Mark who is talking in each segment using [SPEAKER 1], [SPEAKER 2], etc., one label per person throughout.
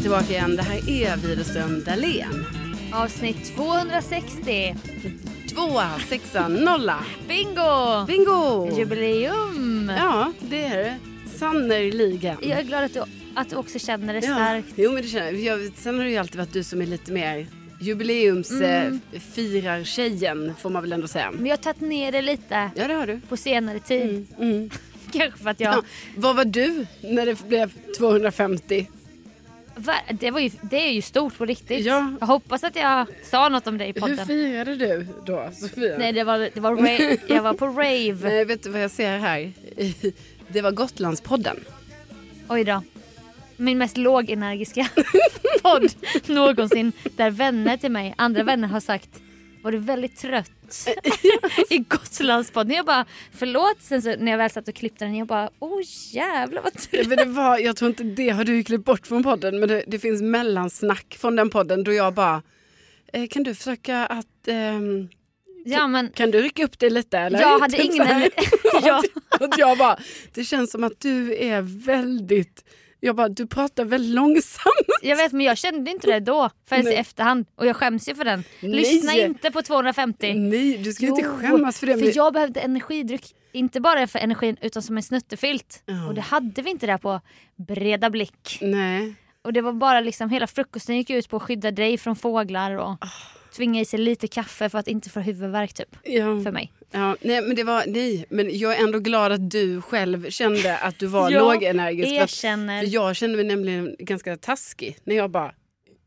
[SPEAKER 1] tillbaka igen. Det här är Widerström Dahlén.
[SPEAKER 2] Avsnitt 260.
[SPEAKER 1] Tvåa, sexa, nolla.
[SPEAKER 2] Bingo!
[SPEAKER 1] Bingo!
[SPEAKER 2] Jubileum!
[SPEAKER 1] Ja, det är det. Sannerligen.
[SPEAKER 2] Jag är glad att du, att du också känner det
[SPEAKER 1] Ja,
[SPEAKER 2] starkt.
[SPEAKER 1] jo men det känner jag. jag. Sen har det ju alltid varit du som är lite mer
[SPEAKER 2] Mm.
[SPEAKER 1] jubileumsfirartjejen får man väl ändå säga.
[SPEAKER 2] Men jag har tagit ner det lite
[SPEAKER 1] Ja det har du.
[SPEAKER 2] på senare tid.
[SPEAKER 1] Mm. Mm.
[SPEAKER 2] Kanske för att
[SPEAKER 1] Ja.
[SPEAKER 2] jag...
[SPEAKER 1] Vad var du när det blev 250?
[SPEAKER 2] Va? Det, var ju, det är ju stort på riktigt.
[SPEAKER 1] Ja.
[SPEAKER 2] Jag hoppas att jag sa något om dig i
[SPEAKER 1] Hur
[SPEAKER 2] podden.
[SPEAKER 1] firade du då Sofia?
[SPEAKER 2] Nej, det var, det var rave. jag var på rave.
[SPEAKER 1] Nej, vet du vad jag ser här? Det var Gotlandspodden.
[SPEAKER 2] Oj då. Min mest lågenergiska podd någonsin. Där vänner till mig, andra vänner har sagt var du väldigt trött i Gotlandspodden? Jag bara förlåt. Sen så, när jag väl satt och klippte den jag bara oh jävlar vad trött.
[SPEAKER 1] Men det var, jag tror inte det har du klippt bort från podden men det, det finns mellansnack från den podden då jag bara eh, kan du försöka att ehm,
[SPEAKER 2] Ja men
[SPEAKER 1] kan du rycka upp dig lite eller?
[SPEAKER 2] jag hade
[SPEAKER 1] Typ så
[SPEAKER 2] ingen...
[SPEAKER 1] här.
[SPEAKER 2] ja.
[SPEAKER 1] Och jag bara, det känns som att du är väldigt, jag bara du pratar väldigt långsamt.
[SPEAKER 2] Jag vet men jag kände inte det då förrän i
[SPEAKER 1] Nej.
[SPEAKER 2] efterhand och jag skäms ju för den.
[SPEAKER 1] Nej.
[SPEAKER 2] Lyssna inte på 250.
[SPEAKER 1] Nej du ska inte
[SPEAKER 2] Eh, Jo,
[SPEAKER 1] skämmas för det. men-
[SPEAKER 2] För jag behövde energidryck, inte bara för energin utan som en snuttefilt.
[SPEAKER 1] Ja.
[SPEAKER 2] Och det hade vi inte där på breda blick.
[SPEAKER 1] Nej.
[SPEAKER 2] Och det var bara liksom hela frukosten gick ut på att skydda dig från fåglar och
[SPEAKER 1] Ah.
[SPEAKER 2] tvinga i sig lite kaffe för att inte få huvudvärk typ.
[SPEAKER 1] Ja.
[SPEAKER 2] För mig.
[SPEAKER 1] Ja, nej, men det var, nej, men jag är ändå glad att du själv kände att du var
[SPEAKER 2] Ja,
[SPEAKER 1] lågenergisk. För, att,
[SPEAKER 2] Erkänner.
[SPEAKER 1] för jag kände mig nämligen ganska taskig när jag bara,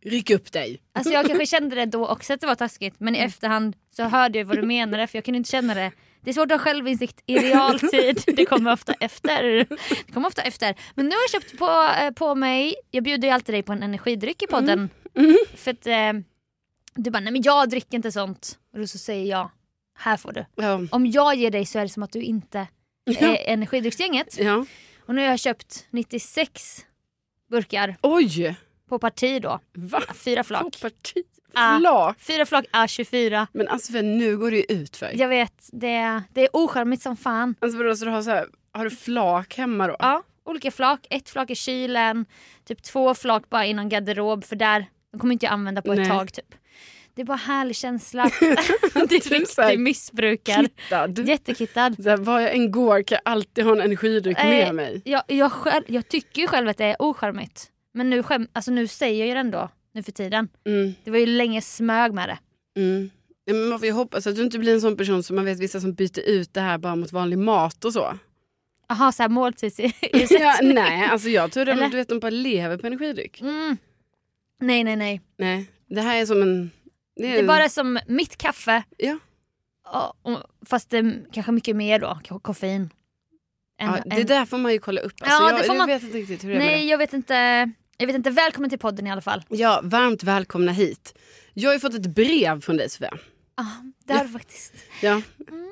[SPEAKER 1] ryck upp dig.
[SPEAKER 2] Alltså jag kanske kände det då också att det var taskigt men i efterhand så hörde jag vad du menade för jag kunde inte känna det. Det är svårt att ha självinsikt i realtid. Det kommer ofta efter. Det kommer ofta efter. Men nu har jag köpt på, eh, på mig, jag bjuder ju alltid dig på en energidryck i podden. För att eh, du bara, nej men jag dricker inte sånt. Och då så säger jag, här får du.
[SPEAKER 1] Ja.
[SPEAKER 2] Om jag ger dig så är det som att du inte
[SPEAKER 1] Ja.
[SPEAKER 2] är energidrycksgänget.
[SPEAKER 1] ja.
[SPEAKER 2] Och nu har jag köpt 96 burkar
[SPEAKER 1] Oj!
[SPEAKER 2] på parti då.
[SPEAKER 1] Va?
[SPEAKER 2] Fyra flak.
[SPEAKER 1] Folkparti?
[SPEAKER 2] Ah.
[SPEAKER 1] Flak?
[SPEAKER 2] Fyra flak är 24.
[SPEAKER 1] Men alltså för nu går det ju ut för.
[SPEAKER 2] Jag vet, det, det är ocharmigt som fan.
[SPEAKER 1] Alltså vadå, så du har, så här, har du flak hemma då?
[SPEAKER 2] Ja, olika flak. Ett flak i kylen, typ två flak bara i någon garderob för där, de kommer inte jag använda på ett
[SPEAKER 1] Nej.
[SPEAKER 2] tag typ. Det är bara härlig känsla. det är
[SPEAKER 1] Du är Typ så här
[SPEAKER 2] riktig missbrukare.
[SPEAKER 1] Kittad.
[SPEAKER 2] Jättekittad.
[SPEAKER 1] Så här, var jag än går kan jag alltid ha en energidryck
[SPEAKER 2] Eh,
[SPEAKER 1] med mig.
[SPEAKER 2] Jag, jag, själv, jag tycker ju själv att det är ocharmigt. Men nu, skäm, alltså nu säger jag ju det ändå, nu för tiden.
[SPEAKER 1] Mm,
[SPEAKER 2] Det var ju länge jag smög med det.
[SPEAKER 1] mm. Ja, Men man får ju hoppas att du inte blir en sån person som man vet vissa som byter ut det här bara mot vanlig mat och så.
[SPEAKER 2] Jaha, såhär måltidsersättning.
[SPEAKER 1] Ja, nej, alltså jag tror
[SPEAKER 2] Eller?
[SPEAKER 1] att du vet, de bara lever på energidryck.
[SPEAKER 2] Mm. Nej, nej, nej.
[SPEAKER 1] Nej, det här är som en...
[SPEAKER 2] Det är
[SPEAKER 1] en-
[SPEAKER 2] bara som mitt kaffe.
[SPEAKER 1] Ja.
[SPEAKER 2] Ja, och- Fast det är kanske mycket mer då, k- koffein. Än-
[SPEAKER 1] ja, det
[SPEAKER 2] än-
[SPEAKER 1] där får man ju kolla upp. Alltså,
[SPEAKER 2] Ja,
[SPEAKER 1] jag,
[SPEAKER 2] det får
[SPEAKER 1] jag
[SPEAKER 2] man-
[SPEAKER 1] vet inte riktigt hur det är med
[SPEAKER 2] Nej, jag vet inte. Jag vet inte. Välkommen till podden i alla fall.
[SPEAKER 1] det. Ja, varmt välkomna hit. Jag har ju fått ett brev från dig Sofia.
[SPEAKER 2] Ja, det har du faktiskt.
[SPEAKER 1] Ja.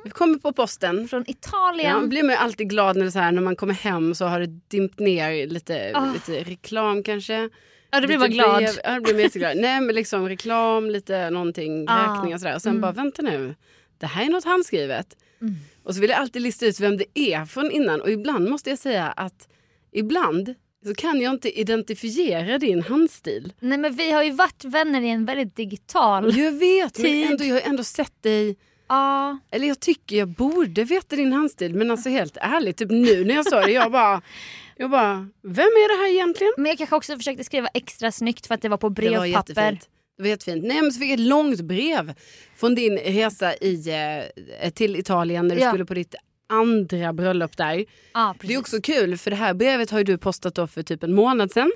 [SPEAKER 1] Det kommer på posten.
[SPEAKER 2] Från
[SPEAKER 1] Ja,
[SPEAKER 2] Italien.
[SPEAKER 1] blir man ju alltid glad när, det är så här, när man kommer hem så har det dimpt ner lite,
[SPEAKER 2] Ah.
[SPEAKER 1] lite reklam kanske.
[SPEAKER 2] Ja, du blir man
[SPEAKER 1] Lite
[SPEAKER 2] glad.
[SPEAKER 1] brev. Ja, då blir man jätteglad. Nej, men liksom reklam, lite någonting,
[SPEAKER 2] Ah.
[SPEAKER 1] räkningar och sådär. Och sen
[SPEAKER 2] Mm.
[SPEAKER 1] bara, vänta nu, det här är något handskrivet.
[SPEAKER 2] Mm.
[SPEAKER 1] Och så vill jag alltid lista ut vem det är från innan. Och ibland måste jag säga att ibland så kan jag inte identifiera din handstil.
[SPEAKER 2] Nej, men vi har ju varit vänner i en väldigt digital...
[SPEAKER 1] Jag vet, men
[SPEAKER 2] Tid.
[SPEAKER 1] ändå, jag har ändå sett dig
[SPEAKER 2] Ja,
[SPEAKER 1] eller jag tycker jag borde veta din handstil, men alltså helt ärligt, typ nu när jag sa det, jag bara, jag bara vem är det här egentligen?
[SPEAKER 2] men jag kanske också försökte skriva extra snyggt för att det var på
[SPEAKER 1] Det var
[SPEAKER 2] brevpapper.
[SPEAKER 1] jättefint. Det var jättefint. Nej, men så fick jag ett långt brev från din resa i, eh, till Italien när du
[SPEAKER 2] Ja.
[SPEAKER 1] skulle på ditt andra bröllop där.
[SPEAKER 2] Ja, precis.
[SPEAKER 1] Det är också kul, för det här brevet har ju du postat då för typ en månad sedan.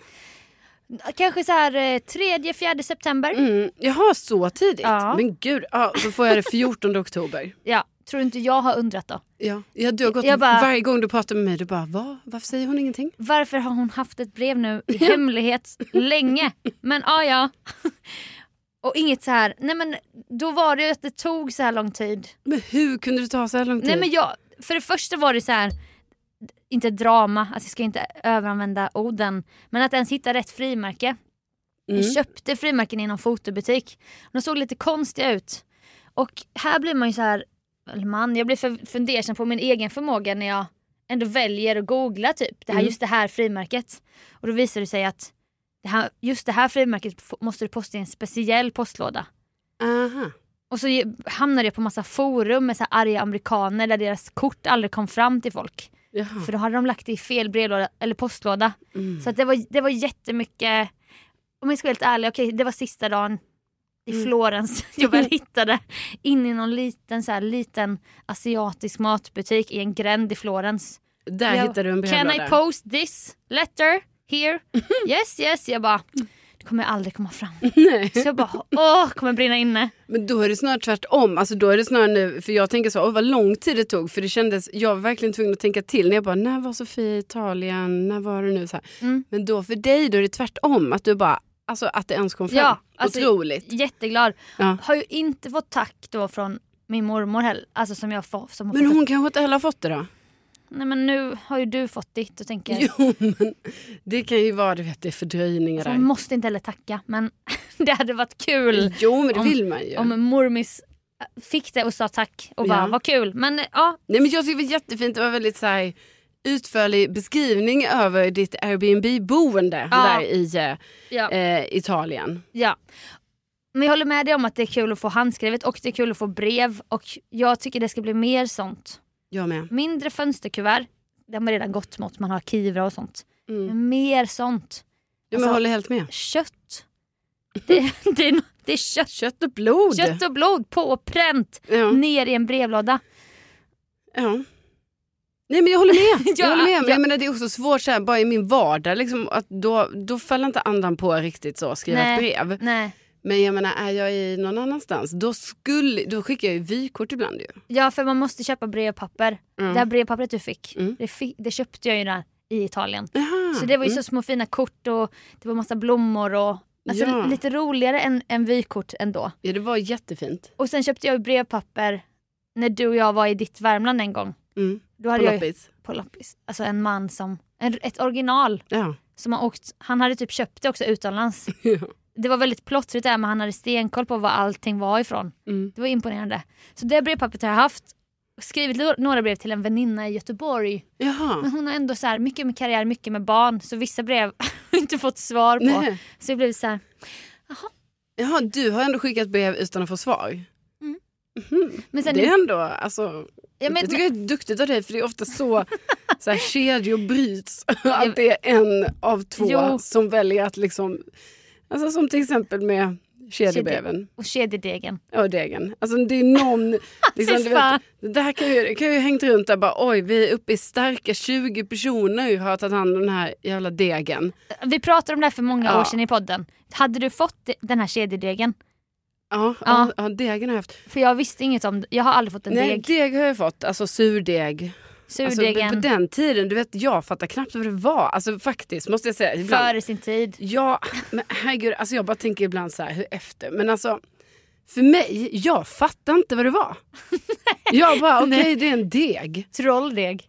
[SPEAKER 2] Kanske så här eh, tredje, fjärde september.
[SPEAKER 1] Mm. Jaha, så tidigt?
[SPEAKER 2] Ja.
[SPEAKER 1] Men gud, ja, så får jag det 14 oktober.
[SPEAKER 2] Ja, tror inte jag har undrat då.
[SPEAKER 1] Ja. Ja, du har gått,
[SPEAKER 2] Jag bara-
[SPEAKER 1] Varje gång du pratar med mig, du bara, Va? varför säger hon ingenting?
[SPEAKER 2] varför har hon haft ett brev nu i hemlighet länge? Men ah, ja. Och inget så här, nej men då var det ju att det tog så här lång tid.
[SPEAKER 1] Men hur kunde det ta så här lång tid?
[SPEAKER 2] Nej men jag, för det första var det så här inte drama, alltså jag ska inte överanvända orden, men att ens hitta rätt frimärke.
[SPEAKER 1] Mm.
[SPEAKER 2] Jag köpte frimärken i någon fotobutik. De såg lite konstiga ut. Och här blir man ju så här, eller man, jag blir för- fundersam på min egen förmåga när jag ändå väljer att googla typ, det här,
[SPEAKER 1] Mm.
[SPEAKER 2] just det här frimärket. Och då visar det sig att det här, just det här frimärket f- måste du posta i en speciell postlåda.
[SPEAKER 1] Aha.
[SPEAKER 2] Och så ge- hamnar det på massa forum med så här arga amerikaner där deras kort aldrig kom fram till folk.
[SPEAKER 1] Jaha.
[SPEAKER 2] För då hade de lagt det i fel brevlåda eller postlåda.
[SPEAKER 1] Mm.
[SPEAKER 2] Så att det, var, det var jättemycket, om jag ska vara helt ärlig, okej det var sista dagen i
[SPEAKER 1] Mm.
[SPEAKER 2] Florens jag väl hittade. In i någon liten, så här, liten asiatisk matbutik i en gränd i Florens.
[SPEAKER 1] Där
[SPEAKER 2] jag-
[SPEAKER 1] hittade du en
[SPEAKER 2] Can I
[SPEAKER 1] brevlåda.
[SPEAKER 2] post this letter here? Yes yes. Jag bara, det kommer aldrig komma fram.
[SPEAKER 1] Nej.
[SPEAKER 2] Så jag bara, åh, kommer brinna inne.
[SPEAKER 1] Men då är det snarare tvärtom. Alltså då är det snarare nu, för jag tänker så, åh vad lång tid det tog. För det kändes, jag var verkligen tvungen att tänka till. När jag bara, när var Sofia i Italien? När var det nu? Så här.
[SPEAKER 2] Mm.
[SPEAKER 1] Men då för dig, då är det tvärtom. Att du bara, alltså att det ens kom fram.
[SPEAKER 2] Ja, alltså-
[SPEAKER 1] Otroligt.
[SPEAKER 2] Jätteglad.
[SPEAKER 1] Ja.
[SPEAKER 2] Har ju inte fått tack då från min mormor heller. Alltså som jag får. Som har
[SPEAKER 1] Men
[SPEAKER 2] fått-
[SPEAKER 1] hon kanske inte heller har fått det då?
[SPEAKER 2] Nej men nu har ju du fått ditt och tänker jag.
[SPEAKER 1] Jo, men det kan ju vara, du vet, det är fördröjningar
[SPEAKER 2] Så hon
[SPEAKER 1] där.
[SPEAKER 2] måste inte heller tacka men det hade varit kul
[SPEAKER 1] Jo, men det
[SPEAKER 2] Om-
[SPEAKER 1] vill man ju.
[SPEAKER 2] om mormis äh, fick det och sa tack och bara
[SPEAKER 1] Ja.
[SPEAKER 2] vad kul. Men eh, ja,
[SPEAKER 1] Nej, men jag tycker det var jättefint. Det var väldigt så här, utförlig beskrivning över ditt Airbnb-boende
[SPEAKER 2] Ja.
[SPEAKER 1] där i
[SPEAKER 2] ja,
[SPEAKER 1] eh, Italien.
[SPEAKER 2] ja. Men jag håller med dig om att det är kul att få handskrivet och det är kul att få brev och jag tycker det ska bli mer sånt.
[SPEAKER 1] Jag med.
[SPEAKER 2] Mindre fönsterkuvert, det har man redan gått mot, man har kivra och sånt.
[SPEAKER 1] Mm.
[SPEAKER 2] Men mer sånt.
[SPEAKER 1] Ja, men
[SPEAKER 2] Alltså-
[SPEAKER 1] jag håller helt med.
[SPEAKER 2] Kött. Det, det, är, det är kött.
[SPEAKER 1] Kött och blod. Mm.
[SPEAKER 2] Kött Mm. och blod på pränt
[SPEAKER 1] Ja,
[SPEAKER 2] ner i en brevlåda.
[SPEAKER 1] ja. Nej men jag håller med.
[SPEAKER 2] Ja,
[SPEAKER 1] jag håller med. Men
[SPEAKER 2] ja.
[SPEAKER 1] jag menar, det är också svårt så här, bara i min vardag, liksom, att då, då faller inte andan på riktigt så att skriva
[SPEAKER 2] Nej.
[SPEAKER 1] ett brev.
[SPEAKER 2] Nej.
[SPEAKER 1] Men jag menar, är jag i någon annanstans, då, skulle, då skickar jag ju vykort ibland ju.
[SPEAKER 2] Ja, för man måste köpa brevpapper.
[SPEAKER 1] Mm.
[SPEAKER 2] Det här brevpappret du fick,
[SPEAKER 1] Mm.
[SPEAKER 2] det, fi- det köpte jag ju där i Italien.
[SPEAKER 1] Jaha.
[SPEAKER 2] Så det var ju
[SPEAKER 1] Mm.
[SPEAKER 2] så små fina kort och det var massa blommor och alltså,
[SPEAKER 1] Ja.
[SPEAKER 2] lite roligare än, än vykort ändå.
[SPEAKER 1] Mm. Ja, det var jättefint.
[SPEAKER 2] Och sen köpte jag ju brevpapper när du och jag var i ditt Värmland en gång.
[SPEAKER 1] Mm.
[SPEAKER 2] Då
[SPEAKER 1] På
[SPEAKER 2] hade jag ju,
[SPEAKER 1] loppis.
[SPEAKER 2] på loppis. Alltså en man som, en, ett original
[SPEAKER 1] Ja.
[SPEAKER 2] som har åkt, han hade typ köpt det också utomlands.
[SPEAKER 1] Ja.
[SPEAKER 2] Det var väldigt plottrigt där men han hade stenkoll på var allting var ifrån.
[SPEAKER 1] Mm.
[SPEAKER 2] Det var imponerande. Så det brevpappret har jag haft. Skrivit lo- några brev till en väninna i Göteborg. Men
[SPEAKER 1] Jaha.
[SPEAKER 2] hon har ändå så här, mycket med karriär, mycket med barn. Så vissa brev har jag inte fått svar på.
[SPEAKER 1] Nej.
[SPEAKER 2] Så det blev så här,
[SPEAKER 1] Jaha, du har ändå skickat brev utan att få svar.
[SPEAKER 2] Mm.
[SPEAKER 1] Mhm.
[SPEAKER 2] men sen,
[SPEAKER 1] Det är ändå, alltså,
[SPEAKER 2] ja, men,
[SPEAKER 1] jag tycker jag är duktigt av dig för det är ofta så, så här, kedjor bryts. Att det är en av två
[SPEAKER 2] Jo.
[SPEAKER 1] som väljer att liksom, alltså som till exempel med kedjebreven
[SPEAKER 2] och kedjedegen.
[SPEAKER 1] och degen. Alltså det är någon, liksom,
[SPEAKER 2] Fy
[SPEAKER 1] du
[SPEAKER 2] fan.
[SPEAKER 1] vet, det där kan ju, det kan ju ha hängt runt där bara oj vi är uppe i starka 20 personer har tagit hand om den här jävla degen.
[SPEAKER 2] Vi pratade om det här för många
[SPEAKER 1] Ja.
[SPEAKER 2] år sedan i podden. Hade du fått de- den här kedjedegen?
[SPEAKER 1] Ja, ja.
[SPEAKER 2] Ja.
[SPEAKER 1] ja degen har jag haft.
[SPEAKER 2] För jag visste inget om det. Jag har aldrig fått en
[SPEAKER 1] Nej,
[SPEAKER 2] deg.
[SPEAKER 1] deg har jag fått, alltså surdeg.
[SPEAKER 2] Surdegen.
[SPEAKER 1] Alltså, på den tiden, du vet, jag fattar knappt vad det var. Alltså faktiskt, måste jag säga. Ibland.
[SPEAKER 2] före sin tid.
[SPEAKER 1] Ja, men herregud, alltså jag bara tänker ibland så här, hur efter? Men alltså, för mig, jag fattar inte vad det var. jag bara, okej det är en deg.
[SPEAKER 2] Trolldeg.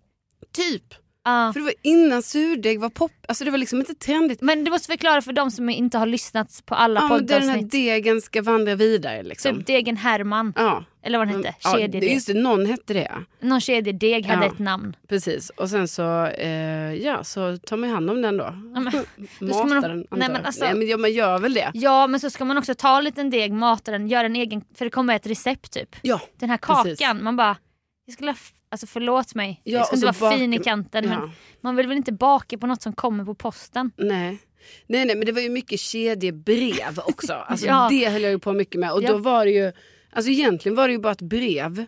[SPEAKER 1] Typ.
[SPEAKER 2] Ja.
[SPEAKER 1] För det var innan surdeg var pop, alltså det var liksom inte trendigt.
[SPEAKER 2] Men du måste förklara för de som inte har lyssnat på alla
[SPEAKER 1] Ja, men där den här
[SPEAKER 2] poddavsnitt.
[SPEAKER 1] degen ska vandra vidare liksom.
[SPEAKER 2] Typ degen Herman.
[SPEAKER 1] Ja.
[SPEAKER 2] Eller vad den hette.
[SPEAKER 1] ja,
[SPEAKER 2] Kedjedeg.
[SPEAKER 1] just det, någon hette det.
[SPEAKER 2] Någon kedjedeg hade
[SPEAKER 1] Ja.
[SPEAKER 2] ett namn.
[SPEAKER 1] Precis, och sen så, eh, ja, så tar man ju hand om den då.
[SPEAKER 2] Ja, men- ska
[SPEAKER 1] Matar
[SPEAKER 2] man-
[SPEAKER 1] den,
[SPEAKER 2] nej,
[SPEAKER 1] antar jag.
[SPEAKER 2] men alltså-
[SPEAKER 1] nej, men ja, man gör väl det.
[SPEAKER 2] Ja men så ska man också ta en liten deg, mata den, göra en egen, för det kommer ett recept typ.
[SPEAKER 1] Ja,
[SPEAKER 2] Den här kakan,
[SPEAKER 1] Precis.
[SPEAKER 2] man bara, jag skulle, ha f- alltså förlåt mig,
[SPEAKER 1] Ja,
[SPEAKER 2] jag
[SPEAKER 1] och
[SPEAKER 2] skulle inte
[SPEAKER 1] så
[SPEAKER 2] vara
[SPEAKER 1] bak-
[SPEAKER 2] fin i kanten
[SPEAKER 1] ja.
[SPEAKER 2] men man vill väl inte baka på något som kommer på posten.
[SPEAKER 1] Nej. nej, nej, men det var ju mycket kedjebrev också. Alltså,
[SPEAKER 2] Ja.
[SPEAKER 1] Det höll jag ju på mycket med. Och
[SPEAKER 2] Ja.
[SPEAKER 1] då var det ju, alltså egentligen var det ju bara ett brev.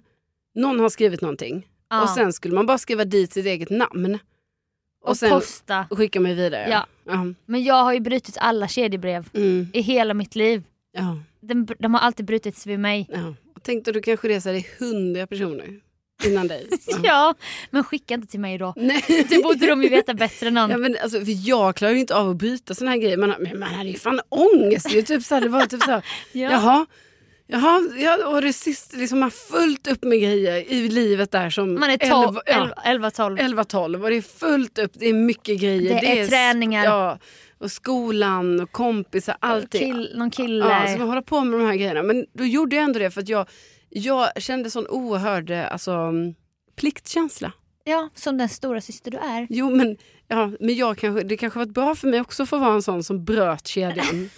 [SPEAKER 1] Någon har skrivit någonting
[SPEAKER 2] Ja.
[SPEAKER 1] och sen skulle man bara skriva dit sitt eget namn. Och,
[SPEAKER 2] och
[SPEAKER 1] sen
[SPEAKER 2] posta.
[SPEAKER 1] skicka mig vidare.
[SPEAKER 2] Ja. Men jag har ju brutit alla kedjebrev
[SPEAKER 1] Mm.
[SPEAKER 2] i hela mitt liv.
[SPEAKER 1] ja.
[SPEAKER 2] Den, br- de har alltid brutits vid mig.
[SPEAKER 1] ja. Och Tänk då du kanske reser i hundra personer innan dig. Ja.
[SPEAKER 2] Ja, Typ men skicka inte till mig då.
[SPEAKER 1] Nej.
[SPEAKER 2] Det borde de ju veta bättre än någon.
[SPEAKER 1] Ja, men alltså, för jag klarar ju inte av att bryta såna här grejer. Man, har- men man hade ju fan ångest. Det, är ju typ så här, det var typ så här,
[SPEAKER 2] Ja.
[SPEAKER 1] Jaha. Jaha, ja, och det sista, liksom man har fullt upp med grejer i livet där som
[SPEAKER 2] Man är
[SPEAKER 1] elva-
[SPEAKER 2] 11-12.
[SPEAKER 1] ja, 11-12 och det är fullt upp, det är mycket grejer.
[SPEAKER 2] Det är träningar.
[SPEAKER 1] Ja, och skolan och kompisar, allting.
[SPEAKER 2] Kill, någon kille.
[SPEAKER 1] Ja, så man håller på med de här grejerna. Men då gjorde jag ändå det för att jag, jag kände sån oerhörd eh, alltså, mm, pliktkänsla.
[SPEAKER 2] Ja, som den stora syster du är.
[SPEAKER 1] Jo, men, ja, men jag kanske, det kanske varit bra för mig också att få vara en sån som bröt kedjan.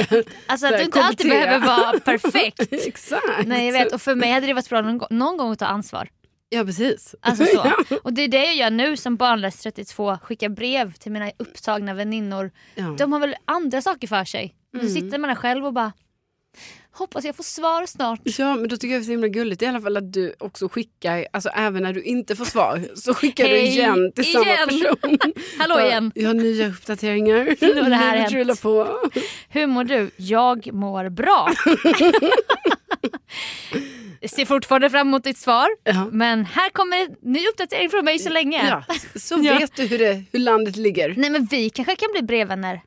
[SPEAKER 2] Alltså att
[SPEAKER 1] Där,
[SPEAKER 2] du inte alltid
[SPEAKER 1] kommentera.
[SPEAKER 2] behöver vara perfekt.
[SPEAKER 1] Exakt.
[SPEAKER 2] Nej jag vet och för mig hade det varit bra någon, gång- någon gång att ta ansvar.
[SPEAKER 1] Ja, precis.
[SPEAKER 2] Alltså så.
[SPEAKER 1] Ja.
[SPEAKER 2] Och det är det jag gör nu som barnlös 32, skickar brev till mina upptagna väninnor.
[SPEAKER 1] Ja.
[SPEAKER 2] De har väl andra saker för sig. Mm. Så
[SPEAKER 1] Mm.
[SPEAKER 2] sitter man där själv och bara hoppas jag får svar snart.
[SPEAKER 1] Ja, men då tycker jag det är så himla gulligt i alla fall att du också skickar, alltså även när du inte får svar, så skickar du
[SPEAKER 2] Hej,
[SPEAKER 1] igen till samma
[SPEAKER 2] igen.
[SPEAKER 1] person.
[SPEAKER 2] Hallå
[SPEAKER 1] Bara,
[SPEAKER 2] igen,
[SPEAKER 1] Jag har nya uppdateringar.
[SPEAKER 2] Nu har det här
[SPEAKER 1] Livet
[SPEAKER 2] hänt.
[SPEAKER 1] rullar på.
[SPEAKER 2] hur mår du? Jag mår bra. Ser fortfarande fram emot ditt svar.
[SPEAKER 1] Ja.
[SPEAKER 2] Men här kommer en ny uppdatering från mig så länge.
[SPEAKER 1] Mm, Ja, så
[SPEAKER 2] Ja.
[SPEAKER 1] vet du hur, det, hur landet ligger.
[SPEAKER 2] Nej men vi kanske kan bli brevvänner.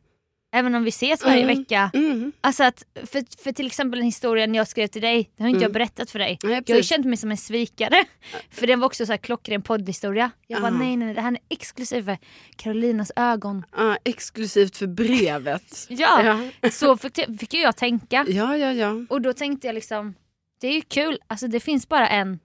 [SPEAKER 2] Även om vi ses varje
[SPEAKER 1] Mm.
[SPEAKER 2] vecka.
[SPEAKER 1] Mm.
[SPEAKER 2] Alltså att, för, för till exempel den historien jag skrev till dig, den har inte
[SPEAKER 1] Mm.
[SPEAKER 2] jag berättat för dig.
[SPEAKER 1] Nej,
[SPEAKER 2] Jag har ju
[SPEAKER 1] precis.
[SPEAKER 2] känt mig som en svikare. För den var också så här klockren poddhistoria. Jag bara
[SPEAKER 1] Ah.
[SPEAKER 2] nej nej det här är exklusivt för Karolinas ögon.
[SPEAKER 1] Ah, exklusivt för brevet.
[SPEAKER 2] Ja,
[SPEAKER 1] Ja,
[SPEAKER 2] så fick, fick ju jag tänka.
[SPEAKER 1] ja, ja. ja.
[SPEAKER 2] Och då tänkte jag liksom, det är ju kul, alltså det finns bara en,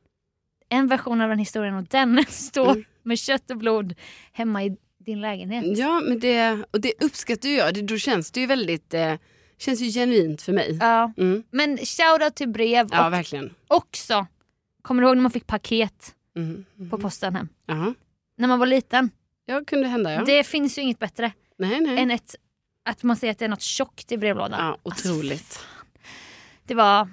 [SPEAKER 2] en version av den historien och den står
[SPEAKER 1] Mm.
[SPEAKER 2] med kött och blod hemma i din lägenhet.
[SPEAKER 1] Ja, men det, och det uppskattar ju jag. Det, då känns det ju väldigt eh, känns ju genuint för mig.
[SPEAKER 2] Ja.
[SPEAKER 1] Mm.
[SPEAKER 2] Men shoutout till brev
[SPEAKER 1] Ja,
[SPEAKER 2] och
[SPEAKER 1] verkligen.
[SPEAKER 2] också, kommer du ihåg när man fick paket
[SPEAKER 1] Mm. Mm.
[SPEAKER 2] på posten hem?
[SPEAKER 1] Ja,
[SPEAKER 2] När man var liten.
[SPEAKER 1] ja kunde hända ja.
[SPEAKER 2] Det finns ju inget bättre
[SPEAKER 1] nej, nej.
[SPEAKER 2] än ett, att man säger att det är något tjockt i brevlådan.
[SPEAKER 1] Ja,
[SPEAKER 2] Alltså,
[SPEAKER 1] otroligt.
[SPEAKER 2] Det var,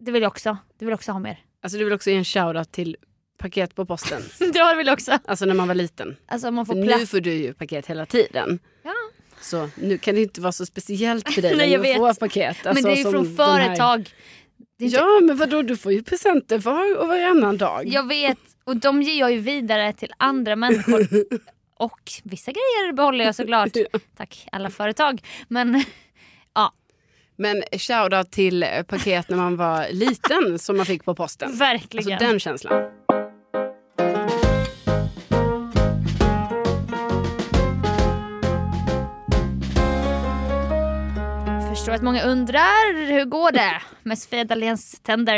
[SPEAKER 2] det vill jag också, det vill jag också ha mer.
[SPEAKER 1] Alltså du vill också ge en shoutout till paket på posten.
[SPEAKER 2] det vill jag också.
[SPEAKER 1] Alltså när man var liten.
[SPEAKER 2] Alltså man
[SPEAKER 1] För
[SPEAKER 2] får
[SPEAKER 1] nu
[SPEAKER 2] plats.
[SPEAKER 1] får du ju paket hela tiden.
[SPEAKER 2] Ja.
[SPEAKER 1] Så nu kan det inte vara så speciellt för dig
[SPEAKER 2] Nej,
[SPEAKER 1] längre
[SPEAKER 2] jag
[SPEAKER 1] att få
[SPEAKER 2] vet.
[SPEAKER 1] paket.
[SPEAKER 2] Men
[SPEAKER 1] Alltså,
[SPEAKER 2] det är ju
[SPEAKER 1] som
[SPEAKER 2] från
[SPEAKER 1] den här-
[SPEAKER 2] företag. Det är inte-
[SPEAKER 1] Ja men vadå du får ju presenter var och varannan dag.
[SPEAKER 2] Jag vet, och de ger jag ju vidare till andra människor. Och vissa grejer behåller jag såklart. Tack alla företag. Men
[SPEAKER 1] Men shoutout till eh, paket när man var liten som man fick på posten. Alltså
[SPEAKER 2] verkligen.
[SPEAKER 1] den känslan.
[SPEAKER 2] Förstår att många undrar hur går det med Sofia Dahléns tänder.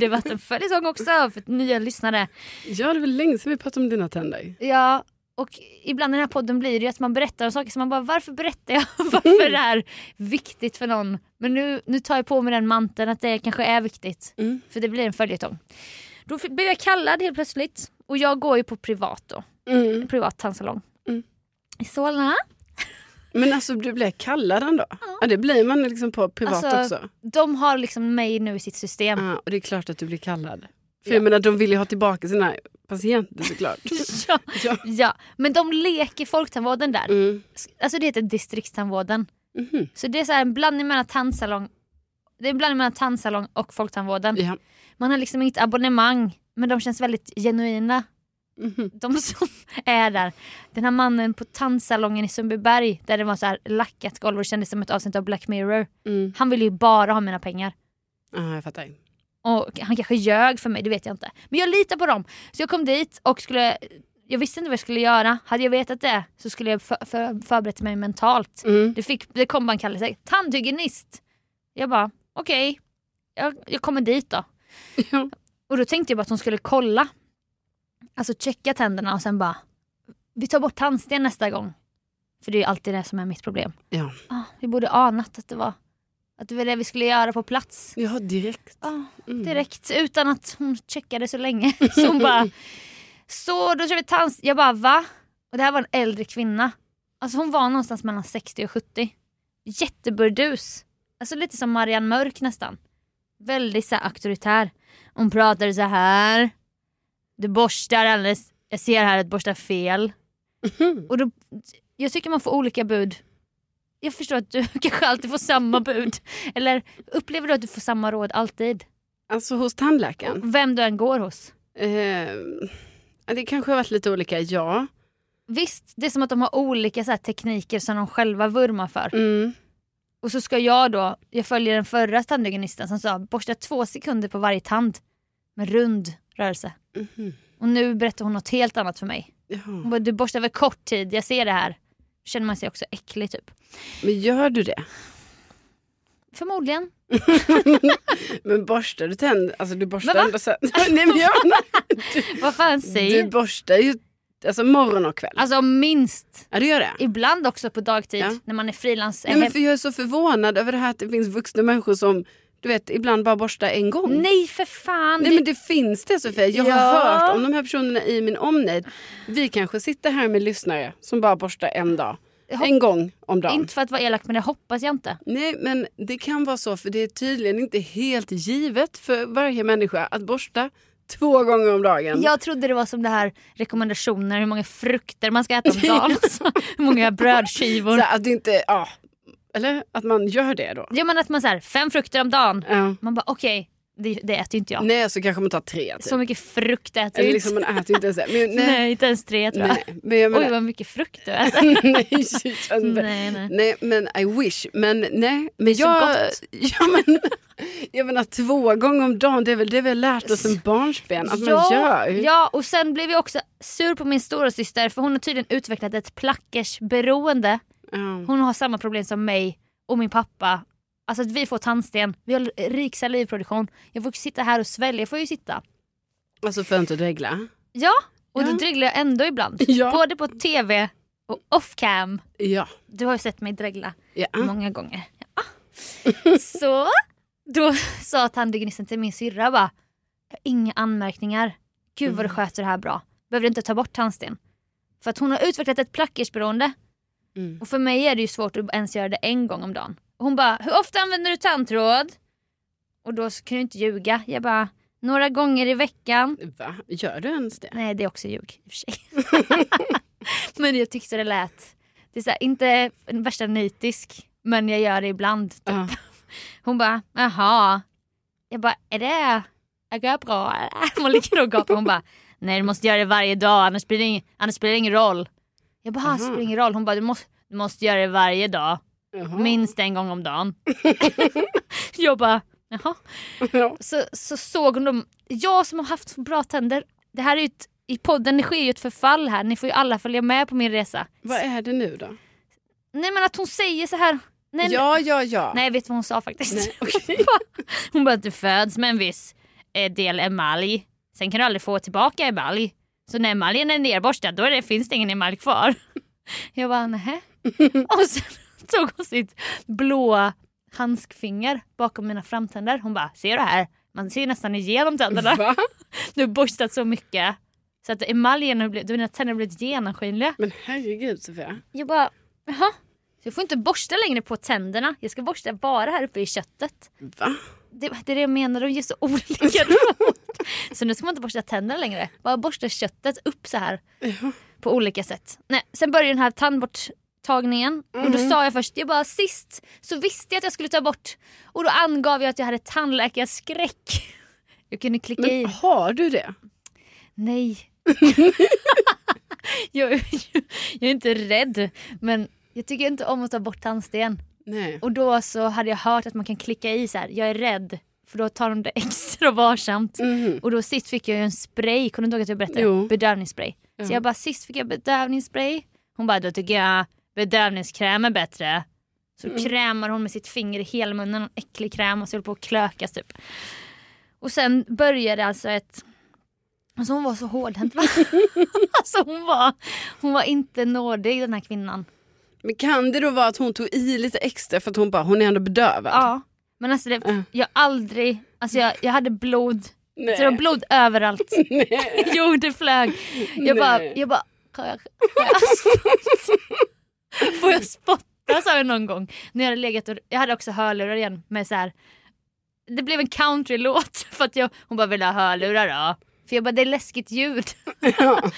[SPEAKER 2] Det har varit en följetong också för nya lyssnare.
[SPEAKER 1] Ja det var länge sedan vi pratade om dina tänder.
[SPEAKER 2] Ja, och ibland i den här podden blir det ju att man berättar om saker som man bara varför berättar jag? Varför är det här viktigt för någon? Men nu, nu tar jag på mig den manteln att det kanske är viktigt.
[SPEAKER 1] Mm.
[SPEAKER 2] För det blir en följetong. Då f- blev jag kallad helt plötsligt och jag går ju på privat då.
[SPEAKER 1] Mm.
[SPEAKER 2] Privat tandsalong.
[SPEAKER 1] Mm.
[SPEAKER 2] I Solna.
[SPEAKER 1] Men alltså du blev kallad ändå? Ja. det blir man liksom på privat
[SPEAKER 2] Alltså,
[SPEAKER 1] också.
[SPEAKER 2] De har liksom mig nu i sitt system.
[SPEAKER 1] Ja, och det är klart att du blir kallad. För
[SPEAKER 2] Ja.
[SPEAKER 1] jag menar de vill ju ha tillbaka sina patienter såklart.
[SPEAKER 2] Ja.
[SPEAKER 1] Ja.
[SPEAKER 2] ja, men de leker folktandvården där.
[SPEAKER 1] Mm.
[SPEAKER 2] Alltså det heter distriktstandvården.
[SPEAKER 1] Mhm.
[SPEAKER 2] Så det är så här en blandning mellan tandsalong det är en blandning mellan tandsalong och folktandvården.
[SPEAKER 1] Ja.
[SPEAKER 2] Man har liksom inget abonnemang men de känns väldigt genuina.
[SPEAKER 1] Mhm.
[SPEAKER 2] De som är där. Den här mannen på tandsalongen i Sundbyberg där det var så här lackat golv och det kändes som ett avsnitt av Black Mirror.
[SPEAKER 1] Mm.
[SPEAKER 2] Han ville ju bara ha mina pengar.
[SPEAKER 1] Ja, jag fattar.
[SPEAKER 2] Och han kanske ljög för mig, det vet jag inte. Men jag litar på dem. Så jag kom dit och skulle, jag visste inte vad jag skulle göra. Hade jag vetat det så skulle jag för, för, förberett mig mentalt.
[SPEAKER 1] Mm.
[SPEAKER 2] Det, fick, det kom bara en kallelse. Tandhygienist! Jag bara, okej. Jag, jag kommer dit då.
[SPEAKER 1] Ja.
[SPEAKER 2] Och då tänkte jag bara att hon skulle kolla. Alltså checka tänderna och sen bara, vi tar bort tandsten nästa gång. För det är ju alltid det som är mitt problem.
[SPEAKER 1] Ja.
[SPEAKER 2] Ah, vi borde anat att det var att det var det vi skulle göra på plats.
[SPEAKER 1] ja, direkt.
[SPEAKER 2] Ah,
[SPEAKER 1] Mm.
[SPEAKER 2] direkt, utan att hon checkade så länge. Så hon bara, så då kör vi tandsten. Jag bara, va? Och det här var en äldre kvinna. Alltså hon var någonstans mellan 60 och 70. Jätteburdus. Alltså lite som Marianne Mörk nästan. Väldigt så här auktoritär. Hon pratade så här. Du borstar alldeles, jag ser här att du borstar fel.
[SPEAKER 1] Mhm.
[SPEAKER 2] Och då, jag tycker man får olika bud. Jag förstår att du kanske alltid får samma bud. Eller upplever du att du får samma råd alltid?
[SPEAKER 1] Alltså hos tandläkaren.
[SPEAKER 2] Vem du än går hos.
[SPEAKER 1] Eh, det kanske har varit lite olika, ja.
[SPEAKER 2] Visst, det är som att de har olika så här, tekniker som de själva vurmar för.
[SPEAKER 1] Mm.
[SPEAKER 2] Och så ska jag då, jag följer den förra tandhygienisten som sa borsta två sekunder på varje tand med rund rörelse.
[SPEAKER 1] Mhm.
[SPEAKER 2] Och nu berättar hon något helt annat för mig.
[SPEAKER 1] Jaha.
[SPEAKER 2] Hon bara, du borstar väl kort tid, jag ser det här. Känner man sig också äcklig typ.
[SPEAKER 1] Men gör du det?
[SPEAKER 2] Förmodligen.
[SPEAKER 1] Men borstar du tänder? Alltså du borstar
[SPEAKER 2] Men va?
[SPEAKER 1] ändå sen. Nej, men jag,
[SPEAKER 2] Vad fan
[SPEAKER 1] du
[SPEAKER 2] säger
[SPEAKER 1] borstar ju alltså, morgon och kväll.
[SPEAKER 2] Alltså minst.
[SPEAKER 1] Ja, du gör det?
[SPEAKER 2] Ibland också på dagtid
[SPEAKER 1] Ja.
[SPEAKER 2] när man är frilans.
[SPEAKER 1] Nej, men för jag är så förvånad över det här att det finns vuxna människor som du vet, ibland bara borstar en gång.
[SPEAKER 2] Nej för fan.
[SPEAKER 1] Nej men det finns det Sofia. Jag har
[SPEAKER 2] Mm. Ja.
[SPEAKER 1] hört om de här personerna i min omnejd. Vi kanske sitter här med lyssnare som bara borstar en dag.
[SPEAKER 2] Jag hop-
[SPEAKER 1] En gång om dagen.
[SPEAKER 2] Inte för att vara elak men det hoppas jag inte.
[SPEAKER 1] Nej men det kan vara så för det är tydligen inte helt givet för varje människa att borsta två gånger om dagen.
[SPEAKER 2] Jag trodde det var som det här rekommendationer hur många frukter man ska äta om dagen. Alltså, hur många brödskivor.
[SPEAKER 1] Så att det inte, ja. Eller att man gör det då.
[SPEAKER 2] Ja men att man säger fem frukter om dagen.
[SPEAKER 1] Ja.
[SPEAKER 2] Man bara okej, det, det äter ju inte jag.
[SPEAKER 1] Nej så kanske man tar tre typ.
[SPEAKER 2] Så mycket frukt äter
[SPEAKER 1] Eller
[SPEAKER 2] jag
[SPEAKER 1] liksom
[SPEAKER 2] inte.
[SPEAKER 1] man äter ju inte ens det. Men,
[SPEAKER 2] Nej.
[SPEAKER 1] nej,
[SPEAKER 2] inte ens tre tror jag.
[SPEAKER 1] nej. Men jag
[SPEAKER 2] Oj
[SPEAKER 1] menar,
[SPEAKER 2] vad mycket frukt du äter.
[SPEAKER 1] nej, jag menar-
[SPEAKER 2] nej, nej.
[SPEAKER 1] Nej men I wish. Men nej. Men
[SPEAKER 2] så
[SPEAKER 1] jag,
[SPEAKER 2] gott.
[SPEAKER 1] ja, men, jag menar två gånger om dagen, det är väl det vi har lärt oss som barnsben att man gör.
[SPEAKER 2] ja, och sen blev jag också sur på min stora syster för hon har tydligen utvecklat ett plackersberoende.
[SPEAKER 1] Ja.
[SPEAKER 2] Hon har samma problem som mig och min pappa. Alltså att vi får tandsten, vi har rik salivproduktion. Jag får sitta här och svälja, jag får ju sitta.
[SPEAKER 1] Alltså för att inte dregla.
[SPEAKER 2] Ja, och
[SPEAKER 1] Ja.
[SPEAKER 2] då dreglar jag ändå ibland.
[SPEAKER 1] Ja.
[SPEAKER 2] Både på tv och off cam.
[SPEAKER 1] Ja.
[SPEAKER 2] Du har ju sett mig dregla
[SPEAKER 1] ja.
[SPEAKER 2] många gånger. Ja. Så då sa tandhygienisten till min syrra bara, "Jag har inga anmärkningar. Gud
[SPEAKER 1] Mm.
[SPEAKER 2] vad du sköter det här bra. Behöver du inte ta bort tandsten. För att hon har utvecklat ett plackersberoende
[SPEAKER 1] Mm.
[SPEAKER 2] och för mig är det ju svårt att ens göra det en gång om dagen. Hon bara, hur ofta använder du tandtråd? Och då så kunde jag inte ljuga. Jag bara, några gånger i veckan.
[SPEAKER 1] Mm. Va? Gör du ens det?
[SPEAKER 2] Nej det är också ljug i och för sig. men jag tyckte det lät, det är så här, inte en värsta nitisk men jag gör det ibland. Typ.
[SPEAKER 1] Ja.
[SPEAKER 2] Hon bara, jaha. Jag bara, är det, är det bra? eller?" Man ligger och gapar. Hon bara, nej du måste göra det varje dag annars blir det ingen, annars spelar det ingen roll. Jag bara, "Ah, det
[SPEAKER 1] Aha.
[SPEAKER 2] spelar ingen roll. Hon bara, du måste, du måste göra det varje dag.
[SPEAKER 1] Jaha.
[SPEAKER 2] Minst en gång om dagen. jag bara, jaha.
[SPEAKER 1] Ja.
[SPEAKER 2] Så, så såg hon dem. Jag som har haft bra tänder. Det här är ju ett, I podden det sker ju ett förfall här. Ni får ju alla följa med på min resa.
[SPEAKER 1] Vad är det nu då?
[SPEAKER 2] Nej men att hon säger så här. Nej,
[SPEAKER 1] ja, ja, ja.
[SPEAKER 2] nej vet du vad hon sa faktiskt?
[SPEAKER 1] Nej, okej.
[SPEAKER 2] Hon bara att du föds med en viss eh, del emalj. Sen kan du aldrig få tillbaka emalj. Så när emaljen är nerborstad då är det, finns det ingen emalj kvar. Jag bara nähä. Och sen tog hon sitt blåa handskfinger bakom mina framtänder. Hon bara ser du här? Man ser nästan igenom tänderna.
[SPEAKER 1] Va?
[SPEAKER 2] Du har borstat så mycket. Så att emaljen har blivit, dina tänder har blivit genomskinliga.
[SPEAKER 1] Men herregud Sofia.
[SPEAKER 2] Jag bara jaha. Så jag får inte borsta längre på tänderna. Jag ska borsta bara här uppe i köttet.
[SPEAKER 1] Va?
[SPEAKER 2] Det, det är det jag menar, de gör så olika råd. Så nu ska man inte borsta tänderna längre. Bara borsta köttet upp så här. På olika sätt. Nej, sen började den här tandborttagningen. Och då sa jag först, jag bara sist så visste jag att jag skulle ta bort. Och då angav jag att jag hade tandläkarskräck. Jag kunde klicka i.
[SPEAKER 1] Men Ah. har du det?
[SPEAKER 2] Nej. jag, är ju- jag är inte rädd. Men jag tycker inte om att ta bort tandsten.
[SPEAKER 1] Nej.
[SPEAKER 2] Och då så hade jag hört att man kan klicka i så här, jag är rädd. För då tar de det extra varsamt.
[SPEAKER 1] Mhm.
[SPEAKER 2] Och då sist fick jag ju en spray, kommer du inte ihåg att jag berättade?
[SPEAKER 1] Jo.
[SPEAKER 2] Bedövningsspray.
[SPEAKER 1] Ja.
[SPEAKER 2] Så jag bara, sist fick jag bedövningsspray. Hon bara, då tycker jag bedövningskräm är bättre. Så
[SPEAKER 1] Mm.
[SPEAKER 2] krämar hon med sitt finger i hela munnen, en äcklig kräm och så höll på att klökas typ. Och sen började alltså ett... Alltså hon var så hårdhänt va? alltså hon var, hon var inte nådig den här kvinnan.
[SPEAKER 1] Men kan det då vara att hon tog i lite extra för att hon bara, hon är ändå bedövad?
[SPEAKER 2] Ja. Men alltså det,
[SPEAKER 1] Ja.
[SPEAKER 2] jag aldrig, alltså jag, jag hade blod,
[SPEAKER 1] Nej.
[SPEAKER 2] så det var blod överallt.
[SPEAKER 1] Nej.
[SPEAKER 2] Jo det flög. Jag bara,
[SPEAKER 1] Nej.
[SPEAKER 2] jag bara, kan jag, kan jag spotta? får jag spotta sa jag någon gång. När jag hade legat och, jag hade också hörlurar igen med så här. det blev en countrylåt för att jag, hon bara vill ha hörlurar då. För jag bara det är läskigt ljud.
[SPEAKER 1] Ja.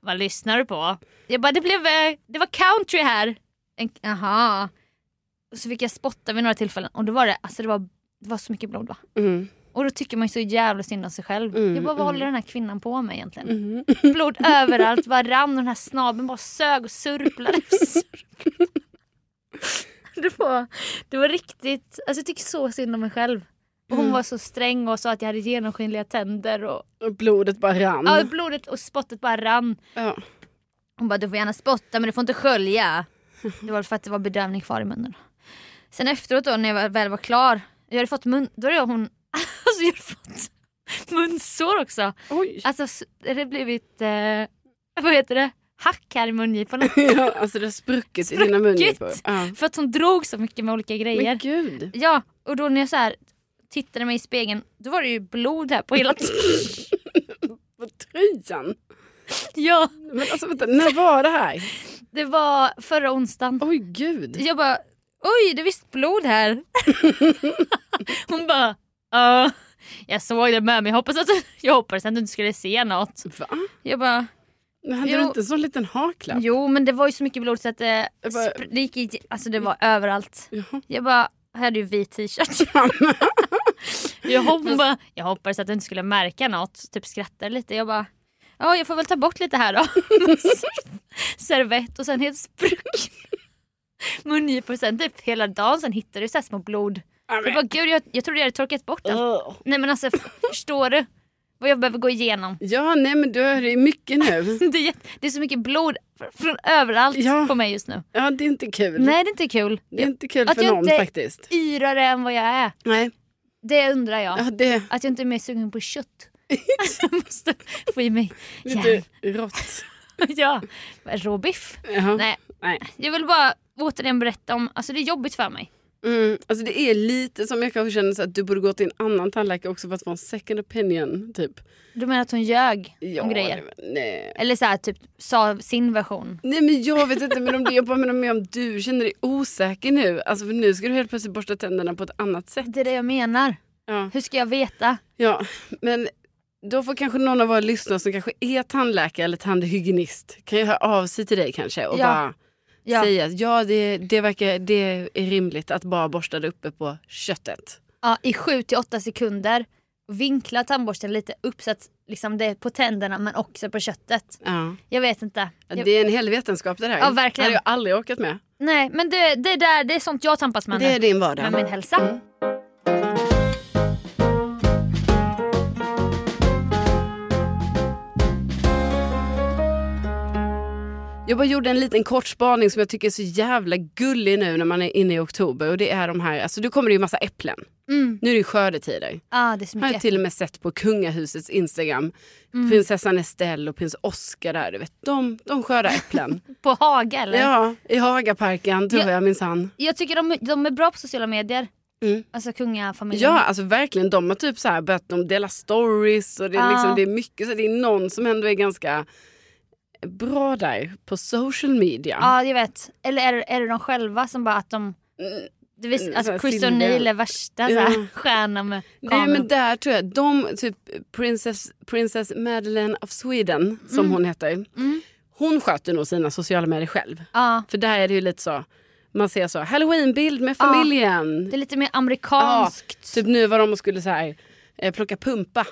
[SPEAKER 2] Vad lyssnar du på? Jag bara det blev, eh, det var country här. En, aha. Och så fick jag spotta vid några tillfällen och då var det, alltså det var, det var så mycket blod va.
[SPEAKER 1] Mm.
[SPEAKER 2] Och då tycker man ju så jävla synd om sig själv.
[SPEAKER 1] Mm,
[SPEAKER 2] jag bara vad
[SPEAKER 1] mm.
[SPEAKER 2] håller den här kvinnan på med egentligen?
[SPEAKER 1] Mm.
[SPEAKER 2] blod överallt, bara rann och den här snabeln bara sög och surplade. Surplade. det, var, det var riktigt, alltså jag tycker så synd om mig själv. Och hon
[SPEAKER 1] Mm.
[SPEAKER 2] var så sträng och sa att jag hade genomskinliga tänder och
[SPEAKER 1] Och blodet bara rann.
[SPEAKER 2] ja, blodet och spottet bara rann.
[SPEAKER 1] Ja.
[SPEAKER 2] Hon bara du får gärna spotta men du får inte skölja. Det var för att det var bedövning kvar i munnen. Sen efteråt då när jag väl var klar, jag hade fått mun, då hade jag hon, alltså jag hade fått munsår också.
[SPEAKER 1] Oj.
[SPEAKER 2] Alltså s- det hade blivit, eh, vad heter det, hack här i mungiporna.
[SPEAKER 1] Ja, alltså det har spruckit, i dina mungipor.
[SPEAKER 2] Spruckit?
[SPEAKER 1] Ja.
[SPEAKER 2] För att hon drog så mycket med olika grejer.
[SPEAKER 1] Men gud.
[SPEAKER 2] Ja, och då när jag så här tittade mig i spegeln, då var det ju blod här på hela
[SPEAKER 1] På tröjan.
[SPEAKER 2] Ja,
[SPEAKER 1] Men alltså vänta, när var det här?
[SPEAKER 2] det var förra onsdagen.
[SPEAKER 1] Oj gud.
[SPEAKER 2] Jag bara, oj det är visst blod här. Hon bara, ja. Jag såg det med mig, jag hoppas att, jag hoppades att du inte skulle se något.
[SPEAKER 1] Va?
[SPEAKER 2] Jag bara,
[SPEAKER 1] Men hade du
[SPEAKER 2] Jo.
[SPEAKER 1] inte en sån liten haklapp?
[SPEAKER 2] jo men det var ju så mycket blod så att det,
[SPEAKER 1] Jag bara-
[SPEAKER 2] spr- det gick i, alltså det var överallt.
[SPEAKER 1] Jaha.
[SPEAKER 2] Jag bara, här är ju vit t-shirt. jag, hopp, hon bara, jag hoppades att du inte skulle märka något. Typ skrattade lite. Jag bara, ja jag får väl ta bort lite här då. Servett och sen helt sprucken mungipor. Sen typ hela dagen sen hittade du så här små blod.
[SPEAKER 1] Ja,
[SPEAKER 2] Jag
[SPEAKER 1] men-
[SPEAKER 2] bara, gud jag, jag trodde jag hade torkat bort allt.
[SPEAKER 1] Ugh.
[SPEAKER 2] Nej men alltså förstår du vad jag behöver gå igenom?
[SPEAKER 1] Ja, nej men du är det mycket nu.
[SPEAKER 2] Det är, jätte- det är så mycket blod fr- från överallt
[SPEAKER 1] Ja.
[SPEAKER 2] på mig just nu.
[SPEAKER 1] Ja, det är inte kul.
[SPEAKER 2] Nej det är inte kul.
[SPEAKER 1] Det är inte kul
[SPEAKER 2] Att
[SPEAKER 1] för
[SPEAKER 2] jag
[SPEAKER 1] någon
[SPEAKER 2] inte-
[SPEAKER 1] faktiskt.
[SPEAKER 2] Yrare än vad jag är.
[SPEAKER 1] Nej,
[SPEAKER 2] Det undrar jag.
[SPEAKER 1] ja, det är
[SPEAKER 2] Att jag inte är mer sugen på kött. jag måste få i mig järn.
[SPEAKER 1] lite rått.
[SPEAKER 2] ja. Råbiff.
[SPEAKER 1] Jaha.
[SPEAKER 2] Nej.
[SPEAKER 1] Nej.
[SPEAKER 2] Jag vill bara återigen berätta om, alltså det är jobbigt för mig.
[SPEAKER 1] Mm, alltså det är lite som jag kanske känner så att du borde gå till en annan tandläkare också för att få en second opinion. Typ.
[SPEAKER 2] Du menar att hon ljög
[SPEAKER 1] Ja,
[SPEAKER 2] om grejer?
[SPEAKER 1] det- Nej.
[SPEAKER 2] Eller så här, typ sa sin version.
[SPEAKER 1] nej men jag vet inte men om det, jag bara menar med om du känner dig osäker nu. Alltså för nu ska du helt plötsligt borsta tänderna på ett annat sätt.
[SPEAKER 2] Det är det jag menar.
[SPEAKER 1] Ja.
[SPEAKER 2] Hur ska jag veta?
[SPEAKER 1] Ja, men då får kanske någon av våra lyssnare som kanske är tandläkare eller tandhygienist kan ju höra av sig till dig kanske och
[SPEAKER 2] Ja.
[SPEAKER 1] bara
[SPEAKER 2] Ja.
[SPEAKER 1] säga att ja, det, det, verkar, det är rimligt att bara borsta det uppe på köttet.
[SPEAKER 2] ja, i 7 till 8 sekunder. Vinkla tandborsten lite upp så att liksom, det är på tänderna men också på köttet.
[SPEAKER 1] Ja.
[SPEAKER 2] Jag vet inte. Jag,
[SPEAKER 1] Det är en hel vetenskap det här.
[SPEAKER 2] Ja, verkligen.
[SPEAKER 1] hade jag aldrig orkat med.
[SPEAKER 2] Nej men det, det, där, det är sånt jag tampas med
[SPEAKER 1] Det är
[SPEAKER 2] nu.
[SPEAKER 1] din vardag.
[SPEAKER 2] Med min hälsa.
[SPEAKER 1] Jag bara gjorde en liten kort spaning som jag tycker är så jävla gullig nu när man är inne i oktober. Och det är de här, alltså nu kommer det ju massa äpplen.
[SPEAKER 2] Mm.
[SPEAKER 1] Nu är det ju skördetider.
[SPEAKER 2] Ah, det är så
[SPEAKER 1] har jag
[SPEAKER 2] mycket.
[SPEAKER 1] till och med sett på kungahusets Instagram.
[SPEAKER 2] Mm.
[SPEAKER 1] Prinsessan Estelle och prins Oscar där, du vet. De, de skördar äpplen.
[SPEAKER 2] typ På Haga eller?
[SPEAKER 1] ja, i Hagaparken tror
[SPEAKER 2] Ja.
[SPEAKER 1] jag minsann.
[SPEAKER 2] Jag tycker de, de är bra på sociala medier.
[SPEAKER 1] Mm.
[SPEAKER 2] Alltså kungafamiljen.
[SPEAKER 1] Ja, alltså verkligen. De har typ så här börjat de dela stories och det är,
[SPEAKER 2] Ja.
[SPEAKER 1] liksom, det är mycket. Så det är någon som ändå är ganska bra där på social media.
[SPEAKER 2] Ja, jag vet. Eller är, är det de själva som bara att de... Du vet,
[SPEAKER 1] Mm,
[SPEAKER 2] alltså
[SPEAKER 1] så här
[SPEAKER 2] Chris
[SPEAKER 1] Silvia.
[SPEAKER 2] O'Neill är värsta så
[SPEAKER 1] Ja.
[SPEAKER 2] här, stjärna med
[SPEAKER 1] Nej
[SPEAKER 2] kameror.
[SPEAKER 1] men där tror jag, de, typ Princess, Princess Madeleine of Sweden som hon heter.
[SPEAKER 2] Mm.
[SPEAKER 1] Hon sköter nog sina sociala medier själv.
[SPEAKER 2] Ja,
[SPEAKER 1] För där är det ju lite så, man ser så halloweenbild med
[SPEAKER 2] Ja.
[SPEAKER 1] familjen.
[SPEAKER 2] det är lite mer amerikanskt.
[SPEAKER 1] Typ nu var de och skulle så här, eh, plocka pumpa.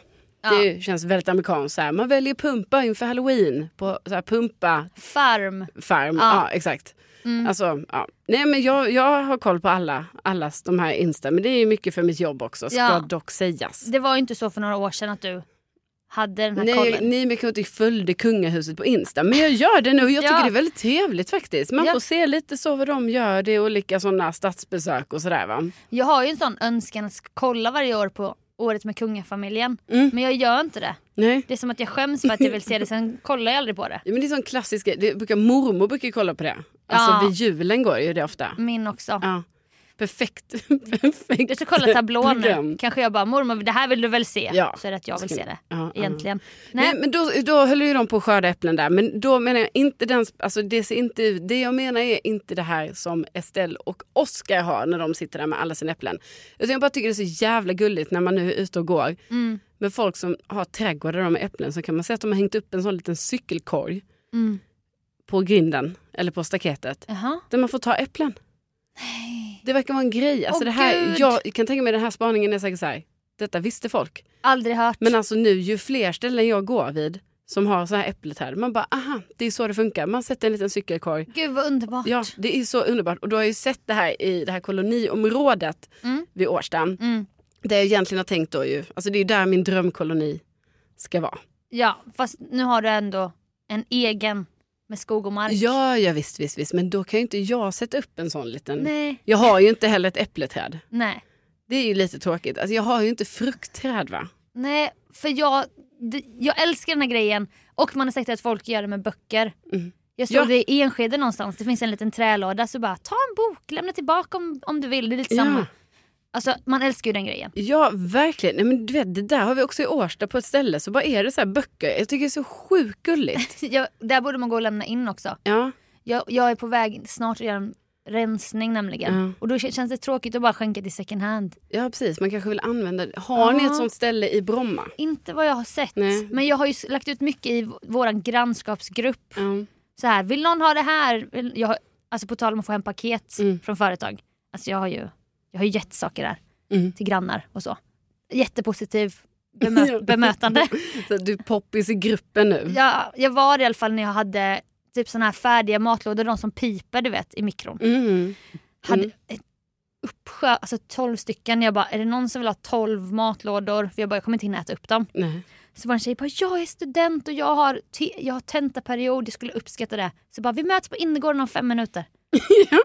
[SPEAKER 2] Ja.
[SPEAKER 1] Det känns väldigt amerikanskt. Så här. Man väljer pumpa inför halloween på så här, pumpa
[SPEAKER 2] Farm.
[SPEAKER 1] farm. Ja.
[SPEAKER 2] Ja. Mm.
[SPEAKER 1] exakt. Alltså, ja. Nej, men jag, jag har koll på alla, allas de här Insta. Men det är ju mycket för mitt jobb också, ska
[SPEAKER 2] Ja.
[SPEAKER 1] dock sägas.
[SPEAKER 2] Det var ju inte så för några år sedan att du hade den här
[SPEAKER 1] Nej,
[SPEAKER 2] kollen.
[SPEAKER 1] ni mycket inte följde kungahuset på Insta. Men jag gör det nu och jag
[SPEAKER 2] Ja.
[SPEAKER 1] tycker det är väldigt trevligt faktiskt. Man
[SPEAKER 2] Ja.
[SPEAKER 1] får se lite så vad de gör. Det är olika sådana statsbesök och sådär va.
[SPEAKER 2] Jag har ju en sån önskan att kolla varje år på året med kungafamiljen.
[SPEAKER 1] Mm.
[SPEAKER 2] Men jag gör inte det.
[SPEAKER 1] Nej.
[SPEAKER 2] Det är som att jag skäms för att jag vill se det, sen kollar jag aldrig på det.
[SPEAKER 1] Ja, men det är sån klassisk grej. Det brukar, mormor brukar ju kolla på det. Alltså
[SPEAKER 2] Ja.
[SPEAKER 1] vid julen går ju det ofta.
[SPEAKER 2] Min också.
[SPEAKER 1] Ja. Perfekt. Perfekt.
[SPEAKER 2] Jag ska kolla tablån
[SPEAKER 1] program.
[SPEAKER 2] nu. Kanske jag bara, mormor det här vill du väl se?
[SPEAKER 1] Ja.
[SPEAKER 2] Så är det att jag vill se det.
[SPEAKER 1] Ja, ja.
[SPEAKER 2] Egentligen.
[SPEAKER 1] Nej.
[SPEAKER 2] Nej,
[SPEAKER 1] men då, då höll ju de på att skörda äpplen där. Men då menar jag inte den, alltså det ser inte ut, det jag menar är inte det här som Estelle och Oscar har när de sitter där med alla sina äpplen. Utan jag bara tycker det är så jävla gulligt när man nu är ute och går
[SPEAKER 2] Mm.
[SPEAKER 1] med folk som har trädgårdar med äpplen så kan man se att de har hängt upp en sån liten cykelkorg
[SPEAKER 2] Mm.
[SPEAKER 1] på grinden eller på staketet
[SPEAKER 2] Jaha.
[SPEAKER 1] där man får ta äpplen. Det verkar vara en grej. Alltså
[SPEAKER 2] Åh,
[SPEAKER 1] det här,
[SPEAKER 2] gud.
[SPEAKER 1] jag kan tänka mig den här spaningen är säkert så här, detta visste folk.
[SPEAKER 2] Aldrig hört.
[SPEAKER 1] Men alltså nu, ju fler ställen jag går vid som har så här äppelträd, man bara aha, det är så det funkar. Man sätter en liten cykelkorg.
[SPEAKER 2] Gud vad underbart.
[SPEAKER 1] Ja, det är så underbart. Och du har ju sett det här i det här koloniområdet
[SPEAKER 2] Mm.
[SPEAKER 1] vid Årsta.
[SPEAKER 2] Mm.
[SPEAKER 1] Det jag egentligen har tänkt då ju, alltså det är ju där min drömkoloni ska vara.
[SPEAKER 2] ja, fast nu har du ändå en egen med skog och mark.
[SPEAKER 1] Ja, ja visst, visst, visst. Men då kan ju inte jag sätta upp en sån liten...
[SPEAKER 2] Nej.
[SPEAKER 1] Jag har ju inte heller ett äppleträd.
[SPEAKER 2] Nej.
[SPEAKER 1] Det är ju lite tråkigt. Alltså, jag har ju inte fruktträd va?
[SPEAKER 2] Nej, för jag, d- jag älskar den här grejen och man har sagt att folk gör det med böcker.
[SPEAKER 1] Mm.
[SPEAKER 2] Jag såg
[SPEAKER 1] Ja.
[SPEAKER 2] det i Enskede någonstans, det finns en liten trälåda så bara ta en bok, lämna tillbaka om, om du vill. Det är lite samma.
[SPEAKER 1] Ja.
[SPEAKER 2] Alltså man älskar ju den grejen.
[SPEAKER 1] Ja, verkligen. Nej, men du vet, det där har vi också i Årsta på ett ställe. Så bara är det så här böcker. Jag tycker det är så sjukt gulligt.
[SPEAKER 2] Jag, där borde man gå och lämna in också.
[SPEAKER 1] Ja,
[SPEAKER 2] Jag, jag är på väg snart att göra en rensning nämligen.
[SPEAKER 1] Ja.
[SPEAKER 2] Och då k- känns det tråkigt att bara skänka till second hand.
[SPEAKER 1] ja precis. Man kanske vill använda det. Har ni
[SPEAKER 2] Ja.
[SPEAKER 1] ett sånt ställe i Bromma?
[SPEAKER 2] Inte vad jag har sett.
[SPEAKER 1] Nej.
[SPEAKER 2] Men jag har ju s- lagt ut mycket i v- våran grannskapsgrupp.
[SPEAKER 1] Ja.
[SPEAKER 2] Så här, vill någon ha det här? Vill- Jag har, alltså på tal om att få hem paket
[SPEAKER 1] Mm.
[SPEAKER 2] från företag. Alltså jag har ju jag har ju gett saker där
[SPEAKER 1] Mm.
[SPEAKER 2] till grannar och så. Jättepositiv bemö- bemötande.
[SPEAKER 1] Så du är poppis i gruppen nu.
[SPEAKER 2] Jag, jag var i alla fall när jag hade typ såna här färdiga matlådor, de som piper du vet i mikron.
[SPEAKER 1] Mm.
[SPEAKER 2] Hade
[SPEAKER 1] Mm.
[SPEAKER 2] ett uppsjö, alltså 12 stycken. Jag bara, är det någon som vill ha 12 matlådor? För jag bara, jag kommer inte hinna äta upp dem.
[SPEAKER 1] Nej.
[SPEAKER 2] Så var det en tjej bara, jag är student och jag har, te- jag har tentaperiod, jag skulle uppskatta det. Så bara, vi möts på innergården om fem minuter.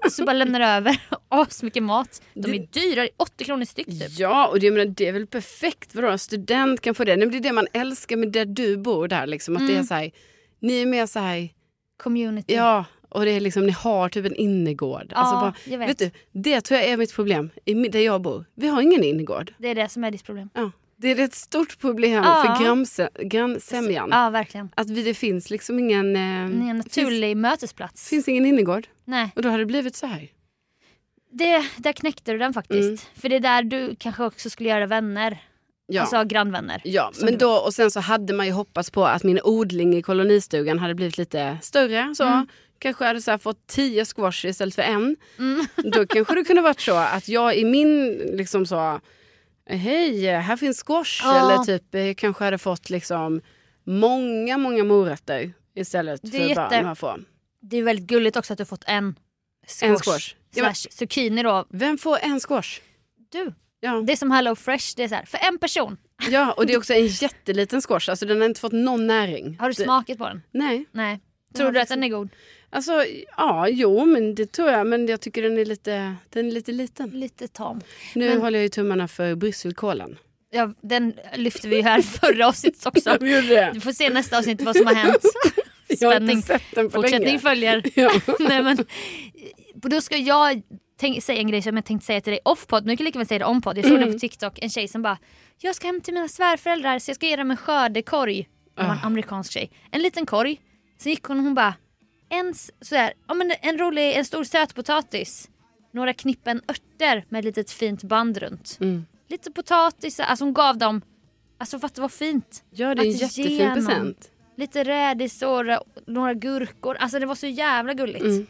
[SPEAKER 2] Och så bara lämnar jag över asmycket mat. De är dyra, det är 80 kronor styck typ.
[SPEAKER 1] Ja, och det, jag menar, det är väl perfekt. Vadå, en student kan få det. Nej, men det är det man älskar med där du bor. Där, liksom, att det är
[SPEAKER 2] Mm.
[SPEAKER 1] så här, ni är mer så här,
[SPEAKER 2] Community.
[SPEAKER 1] ja, och det är liksom, ni har typ en innergård.
[SPEAKER 2] Ja, jag vet.
[SPEAKER 1] alltså du, det tror jag är mitt problem i, mi- där jag bor. Vi har ingen innergård.
[SPEAKER 2] Det är det som är ditt problem.
[SPEAKER 1] Ja. Det är ett stort problem
[SPEAKER 2] Ja.
[SPEAKER 1] för grannse, grannsämjan.
[SPEAKER 2] Ja, verkligen.
[SPEAKER 1] Att vi, det finns liksom ingen, eh,
[SPEAKER 2] Ni är en
[SPEAKER 1] finns,
[SPEAKER 2] naturlig mötesplats.
[SPEAKER 1] finns ingen innergård.
[SPEAKER 2] Nej,
[SPEAKER 1] Och då har det blivit så här.
[SPEAKER 2] det, där knäckte du den faktiskt. För det är där du kanske också skulle göra vänner.
[SPEAKER 1] Mm. Ja.
[SPEAKER 2] Alltså grannvänner.
[SPEAKER 1] Ja,
[SPEAKER 2] Som
[SPEAKER 1] men
[SPEAKER 2] du-
[SPEAKER 1] då, och sen så hade man ju hoppats på att min odling i kolonistugan hade blivit lite större. Så
[SPEAKER 2] Mm.
[SPEAKER 1] Kanske hade så här fått tio squash istället för en.
[SPEAKER 2] Mm.
[SPEAKER 1] Då kanske det kunde varit så att jag i min liksom så, hej här finns squash.
[SPEAKER 2] Ja.
[SPEAKER 1] Eller typ eh, kanske hade fått liksom många, många morötter istället
[SPEAKER 2] Det
[SPEAKER 1] för
[SPEAKER 2] är
[SPEAKER 1] bara
[SPEAKER 2] jätte-
[SPEAKER 1] några få.
[SPEAKER 2] Det är väldigt gulligt också att du har fått en squash.
[SPEAKER 1] En squash. Ja, men-
[SPEAKER 2] Slash zucchini då.
[SPEAKER 1] Vem får en squash?
[SPEAKER 2] Du.
[SPEAKER 1] Ja.
[SPEAKER 2] Det är som Hello Fresh, det är så här, för en person.
[SPEAKER 1] ja, och det är också en jätteliten squash. Alltså den har inte fått någon näring.
[SPEAKER 2] Har du
[SPEAKER 1] Det-
[SPEAKER 2] smakat på den?
[SPEAKER 1] Nej.
[SPEAKER 2] Nej.
[SPEAKER 1] har
[SPEAKER 2] Tror du att
[SPEAKER 1] faktiskt-
[SPEAKER 2] den är god?
[SPEAKER 1] Alltså, ja, jo, men det tror jag. Men jag tycker den är lite, den är lite liten.
[SPEAKER 2] Lite tam.
[SPEAKER 1] Nu
[SPEAKER 2] Men-
[SPEAKER 1] håller jag ju tummarna för brysselkålen.
[SPEAKER 2] Ja, den lyfte vi ju här förra avsnittet också.
[SPEAKER 1] gjorde det.
[SPEAKER 2] Du får se nästa avsnitt vad som har hänt.
[SPEAKER 1] Jag har inte
[SPEAKER 2] Spänning.
[SPEAKER 1] sett den på
[SPEAKER 2] Fortsättning
[SPEAKER 1] länge.
[SPEAKER 2] följer.
[SPEAKER 1] Ja.
[SPEAKER 2] Nej, men, då ska jag tänk, säga en grej som jag tänkte säga till dig off-podd. Nu kan jag lika väl säga det on-podd. Jag såg
[SPEAKER 1] Mm.
[SPEAKER 2] det på TikTok. En tjej som bara “Jag ska hem till mina svärföräldrar så jag ska ge dem en skördekorg”. Det var en
[SPEAKER 1] Ah.
[SPEAKER 2] amerikansk tjej. En liten korg. Sen gick hon och hon bara en, s- sådär, ja, men en rolig, en stor sötpotatis. Några knippen örter med ett litet fint band runt.
[SPEAKER 1] Mm.
[SPEAKER 2] Lite potatis, alltså hon gav dem, alltså fatta vad fint.
[SPEAKER 1] Ja, det är en
[SPEAKER 2] Att ge
[SPEAKER 1] jättefin
[SPEAKER 2] någon.
[SPEAKER 1] present.
[SPEAKER 2] Lite rädisor, några gurkor. Alltså det var så jävla gulligt.
[SPEAKER 1] Mm.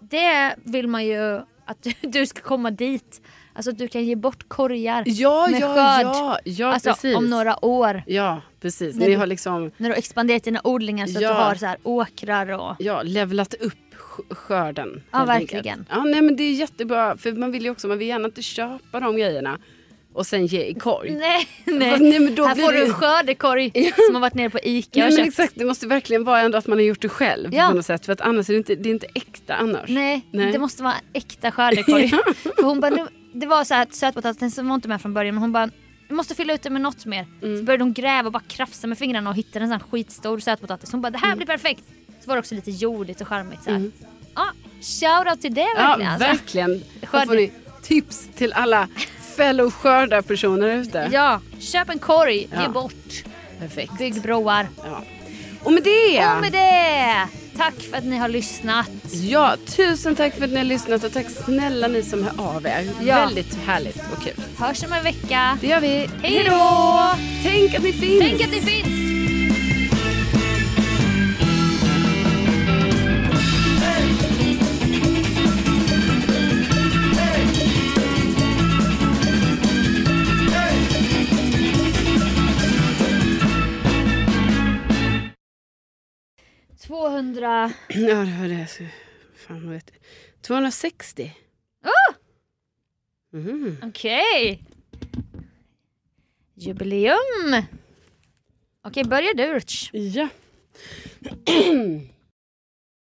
[SPEAKER 2] Det vill man ju att du- du ska komma dit. Alltså att du kan ge bort korgar.
[SPEAKER 1] Ja,
[SPEAKER 2] Med
[SPEAKER 1] ja,
[SPEAKER 2] skörd.
[SPEAKER 1] ja, ja, precis.
[SPEAKER 2] alltså om några år.
[SPEAKER 1] Ja, precis.
[SPEAKER 2] När
[SPEAKER 1] Ni
[SPEAKER 2] du-
[SPEAKER 1] har liksom
[SPEAKER 2] När du har expanderat dina odlingar så
[SPEAKER 1] Ja.
[SPEAKER 2] att du har så här åkrar och...
[SPEAKER 1] ja, levlat upp sk- skörden.
[SPEAKER 2] Ja,
[SPEAKER 1] helt
[SPEAKER 2] verkligen.
[SPEAKER 1] enkelt. Ja, nej, men det är jättebra. För man vill ju också, man vill gärna inte köpa de grejerna och sen ge i korg.
[SPEAKER 2] Nej,
[SPEAKER 1] Fast,
[SPEAKER 2] nej.
[SPEAKER 1] nej men Mm. då
[SPEAKER 2] Här
[SPEAKER 1] blir
[SPEAKER 2] får
[SPEAKER 1] det-
[SPEAKER 2] du en skördekorg som har varit nere på Ica och
[SPEAKER 1] Nej, men
[SPEAKER 2] köpt.
[SPEAKER 1] exakt, det måste verkligen vara ändå att man har gjort det själv
[SPEAKER 2] Ja.
[SPEAKER 1] på något sätt. För att annars är det inte, det är inte äkta annars.
[SPEAKER 2] Nej,
[SPEAKER 1] Nej.
[SPEAKER 2] det måste vara en äkta skördekorg. För hon bara, nu, det var så här att sötpotatisen som var inte med från början men hon bara jag måste fylla ut den med något mer. Så började hon gräva och bara krafsa med fingrarna och hittade en sån här skitstor sötpotatis. Hon bara det här blir perfekt. Så var det också lite jordigt och charmigt så här. Ja, shoutout till det
[SPEAKER 1] Ja,
[SPEAKER 2] verkligen. alltså.
[SPEAKER 1] verkligen. Då
[SPEAKER 2] Skörd-
[SPEAKER 1] får ni tips till alla fellow skördarpersoner ute.
[SPEAKER 2] Ja, köp en korg,
[SPEAKER 1] Ja.
[SPEAKER 2] ge bort,
[SPEAKER 1] Perfekt.
[SPEAKER 2] bygg broar.
[SPEAKER 1] Ja. Och med det!
[SPEAKER 2] Och med det, tack för att ni har lyssnat.
[SPEAKER 1] Ja, tusen tack för att ni har lyssnat och tack snälla ni som hör av er.
[SPEAKER 2] Ja.
[SPEAKER 1] Väldigt härligt och kul.
[SPEAKER 2] Hörs om en vecka.
[SPEAKER 1] Det gör vi.
[SPEAKER 2] Hej då!
[SPEAKER 1] Tänk att ni finns!
[SPEAKER 2] Tänk att ni finns! Tvåhundra...
[SPEAKER 1] Ja, det var det. jag skulle- Fan, vad vet jag. 260. Mhm.
[SPEAKER 2] Okej. Jubileum. Okej, börja du Rich.
[SPEAKER 1] Ja.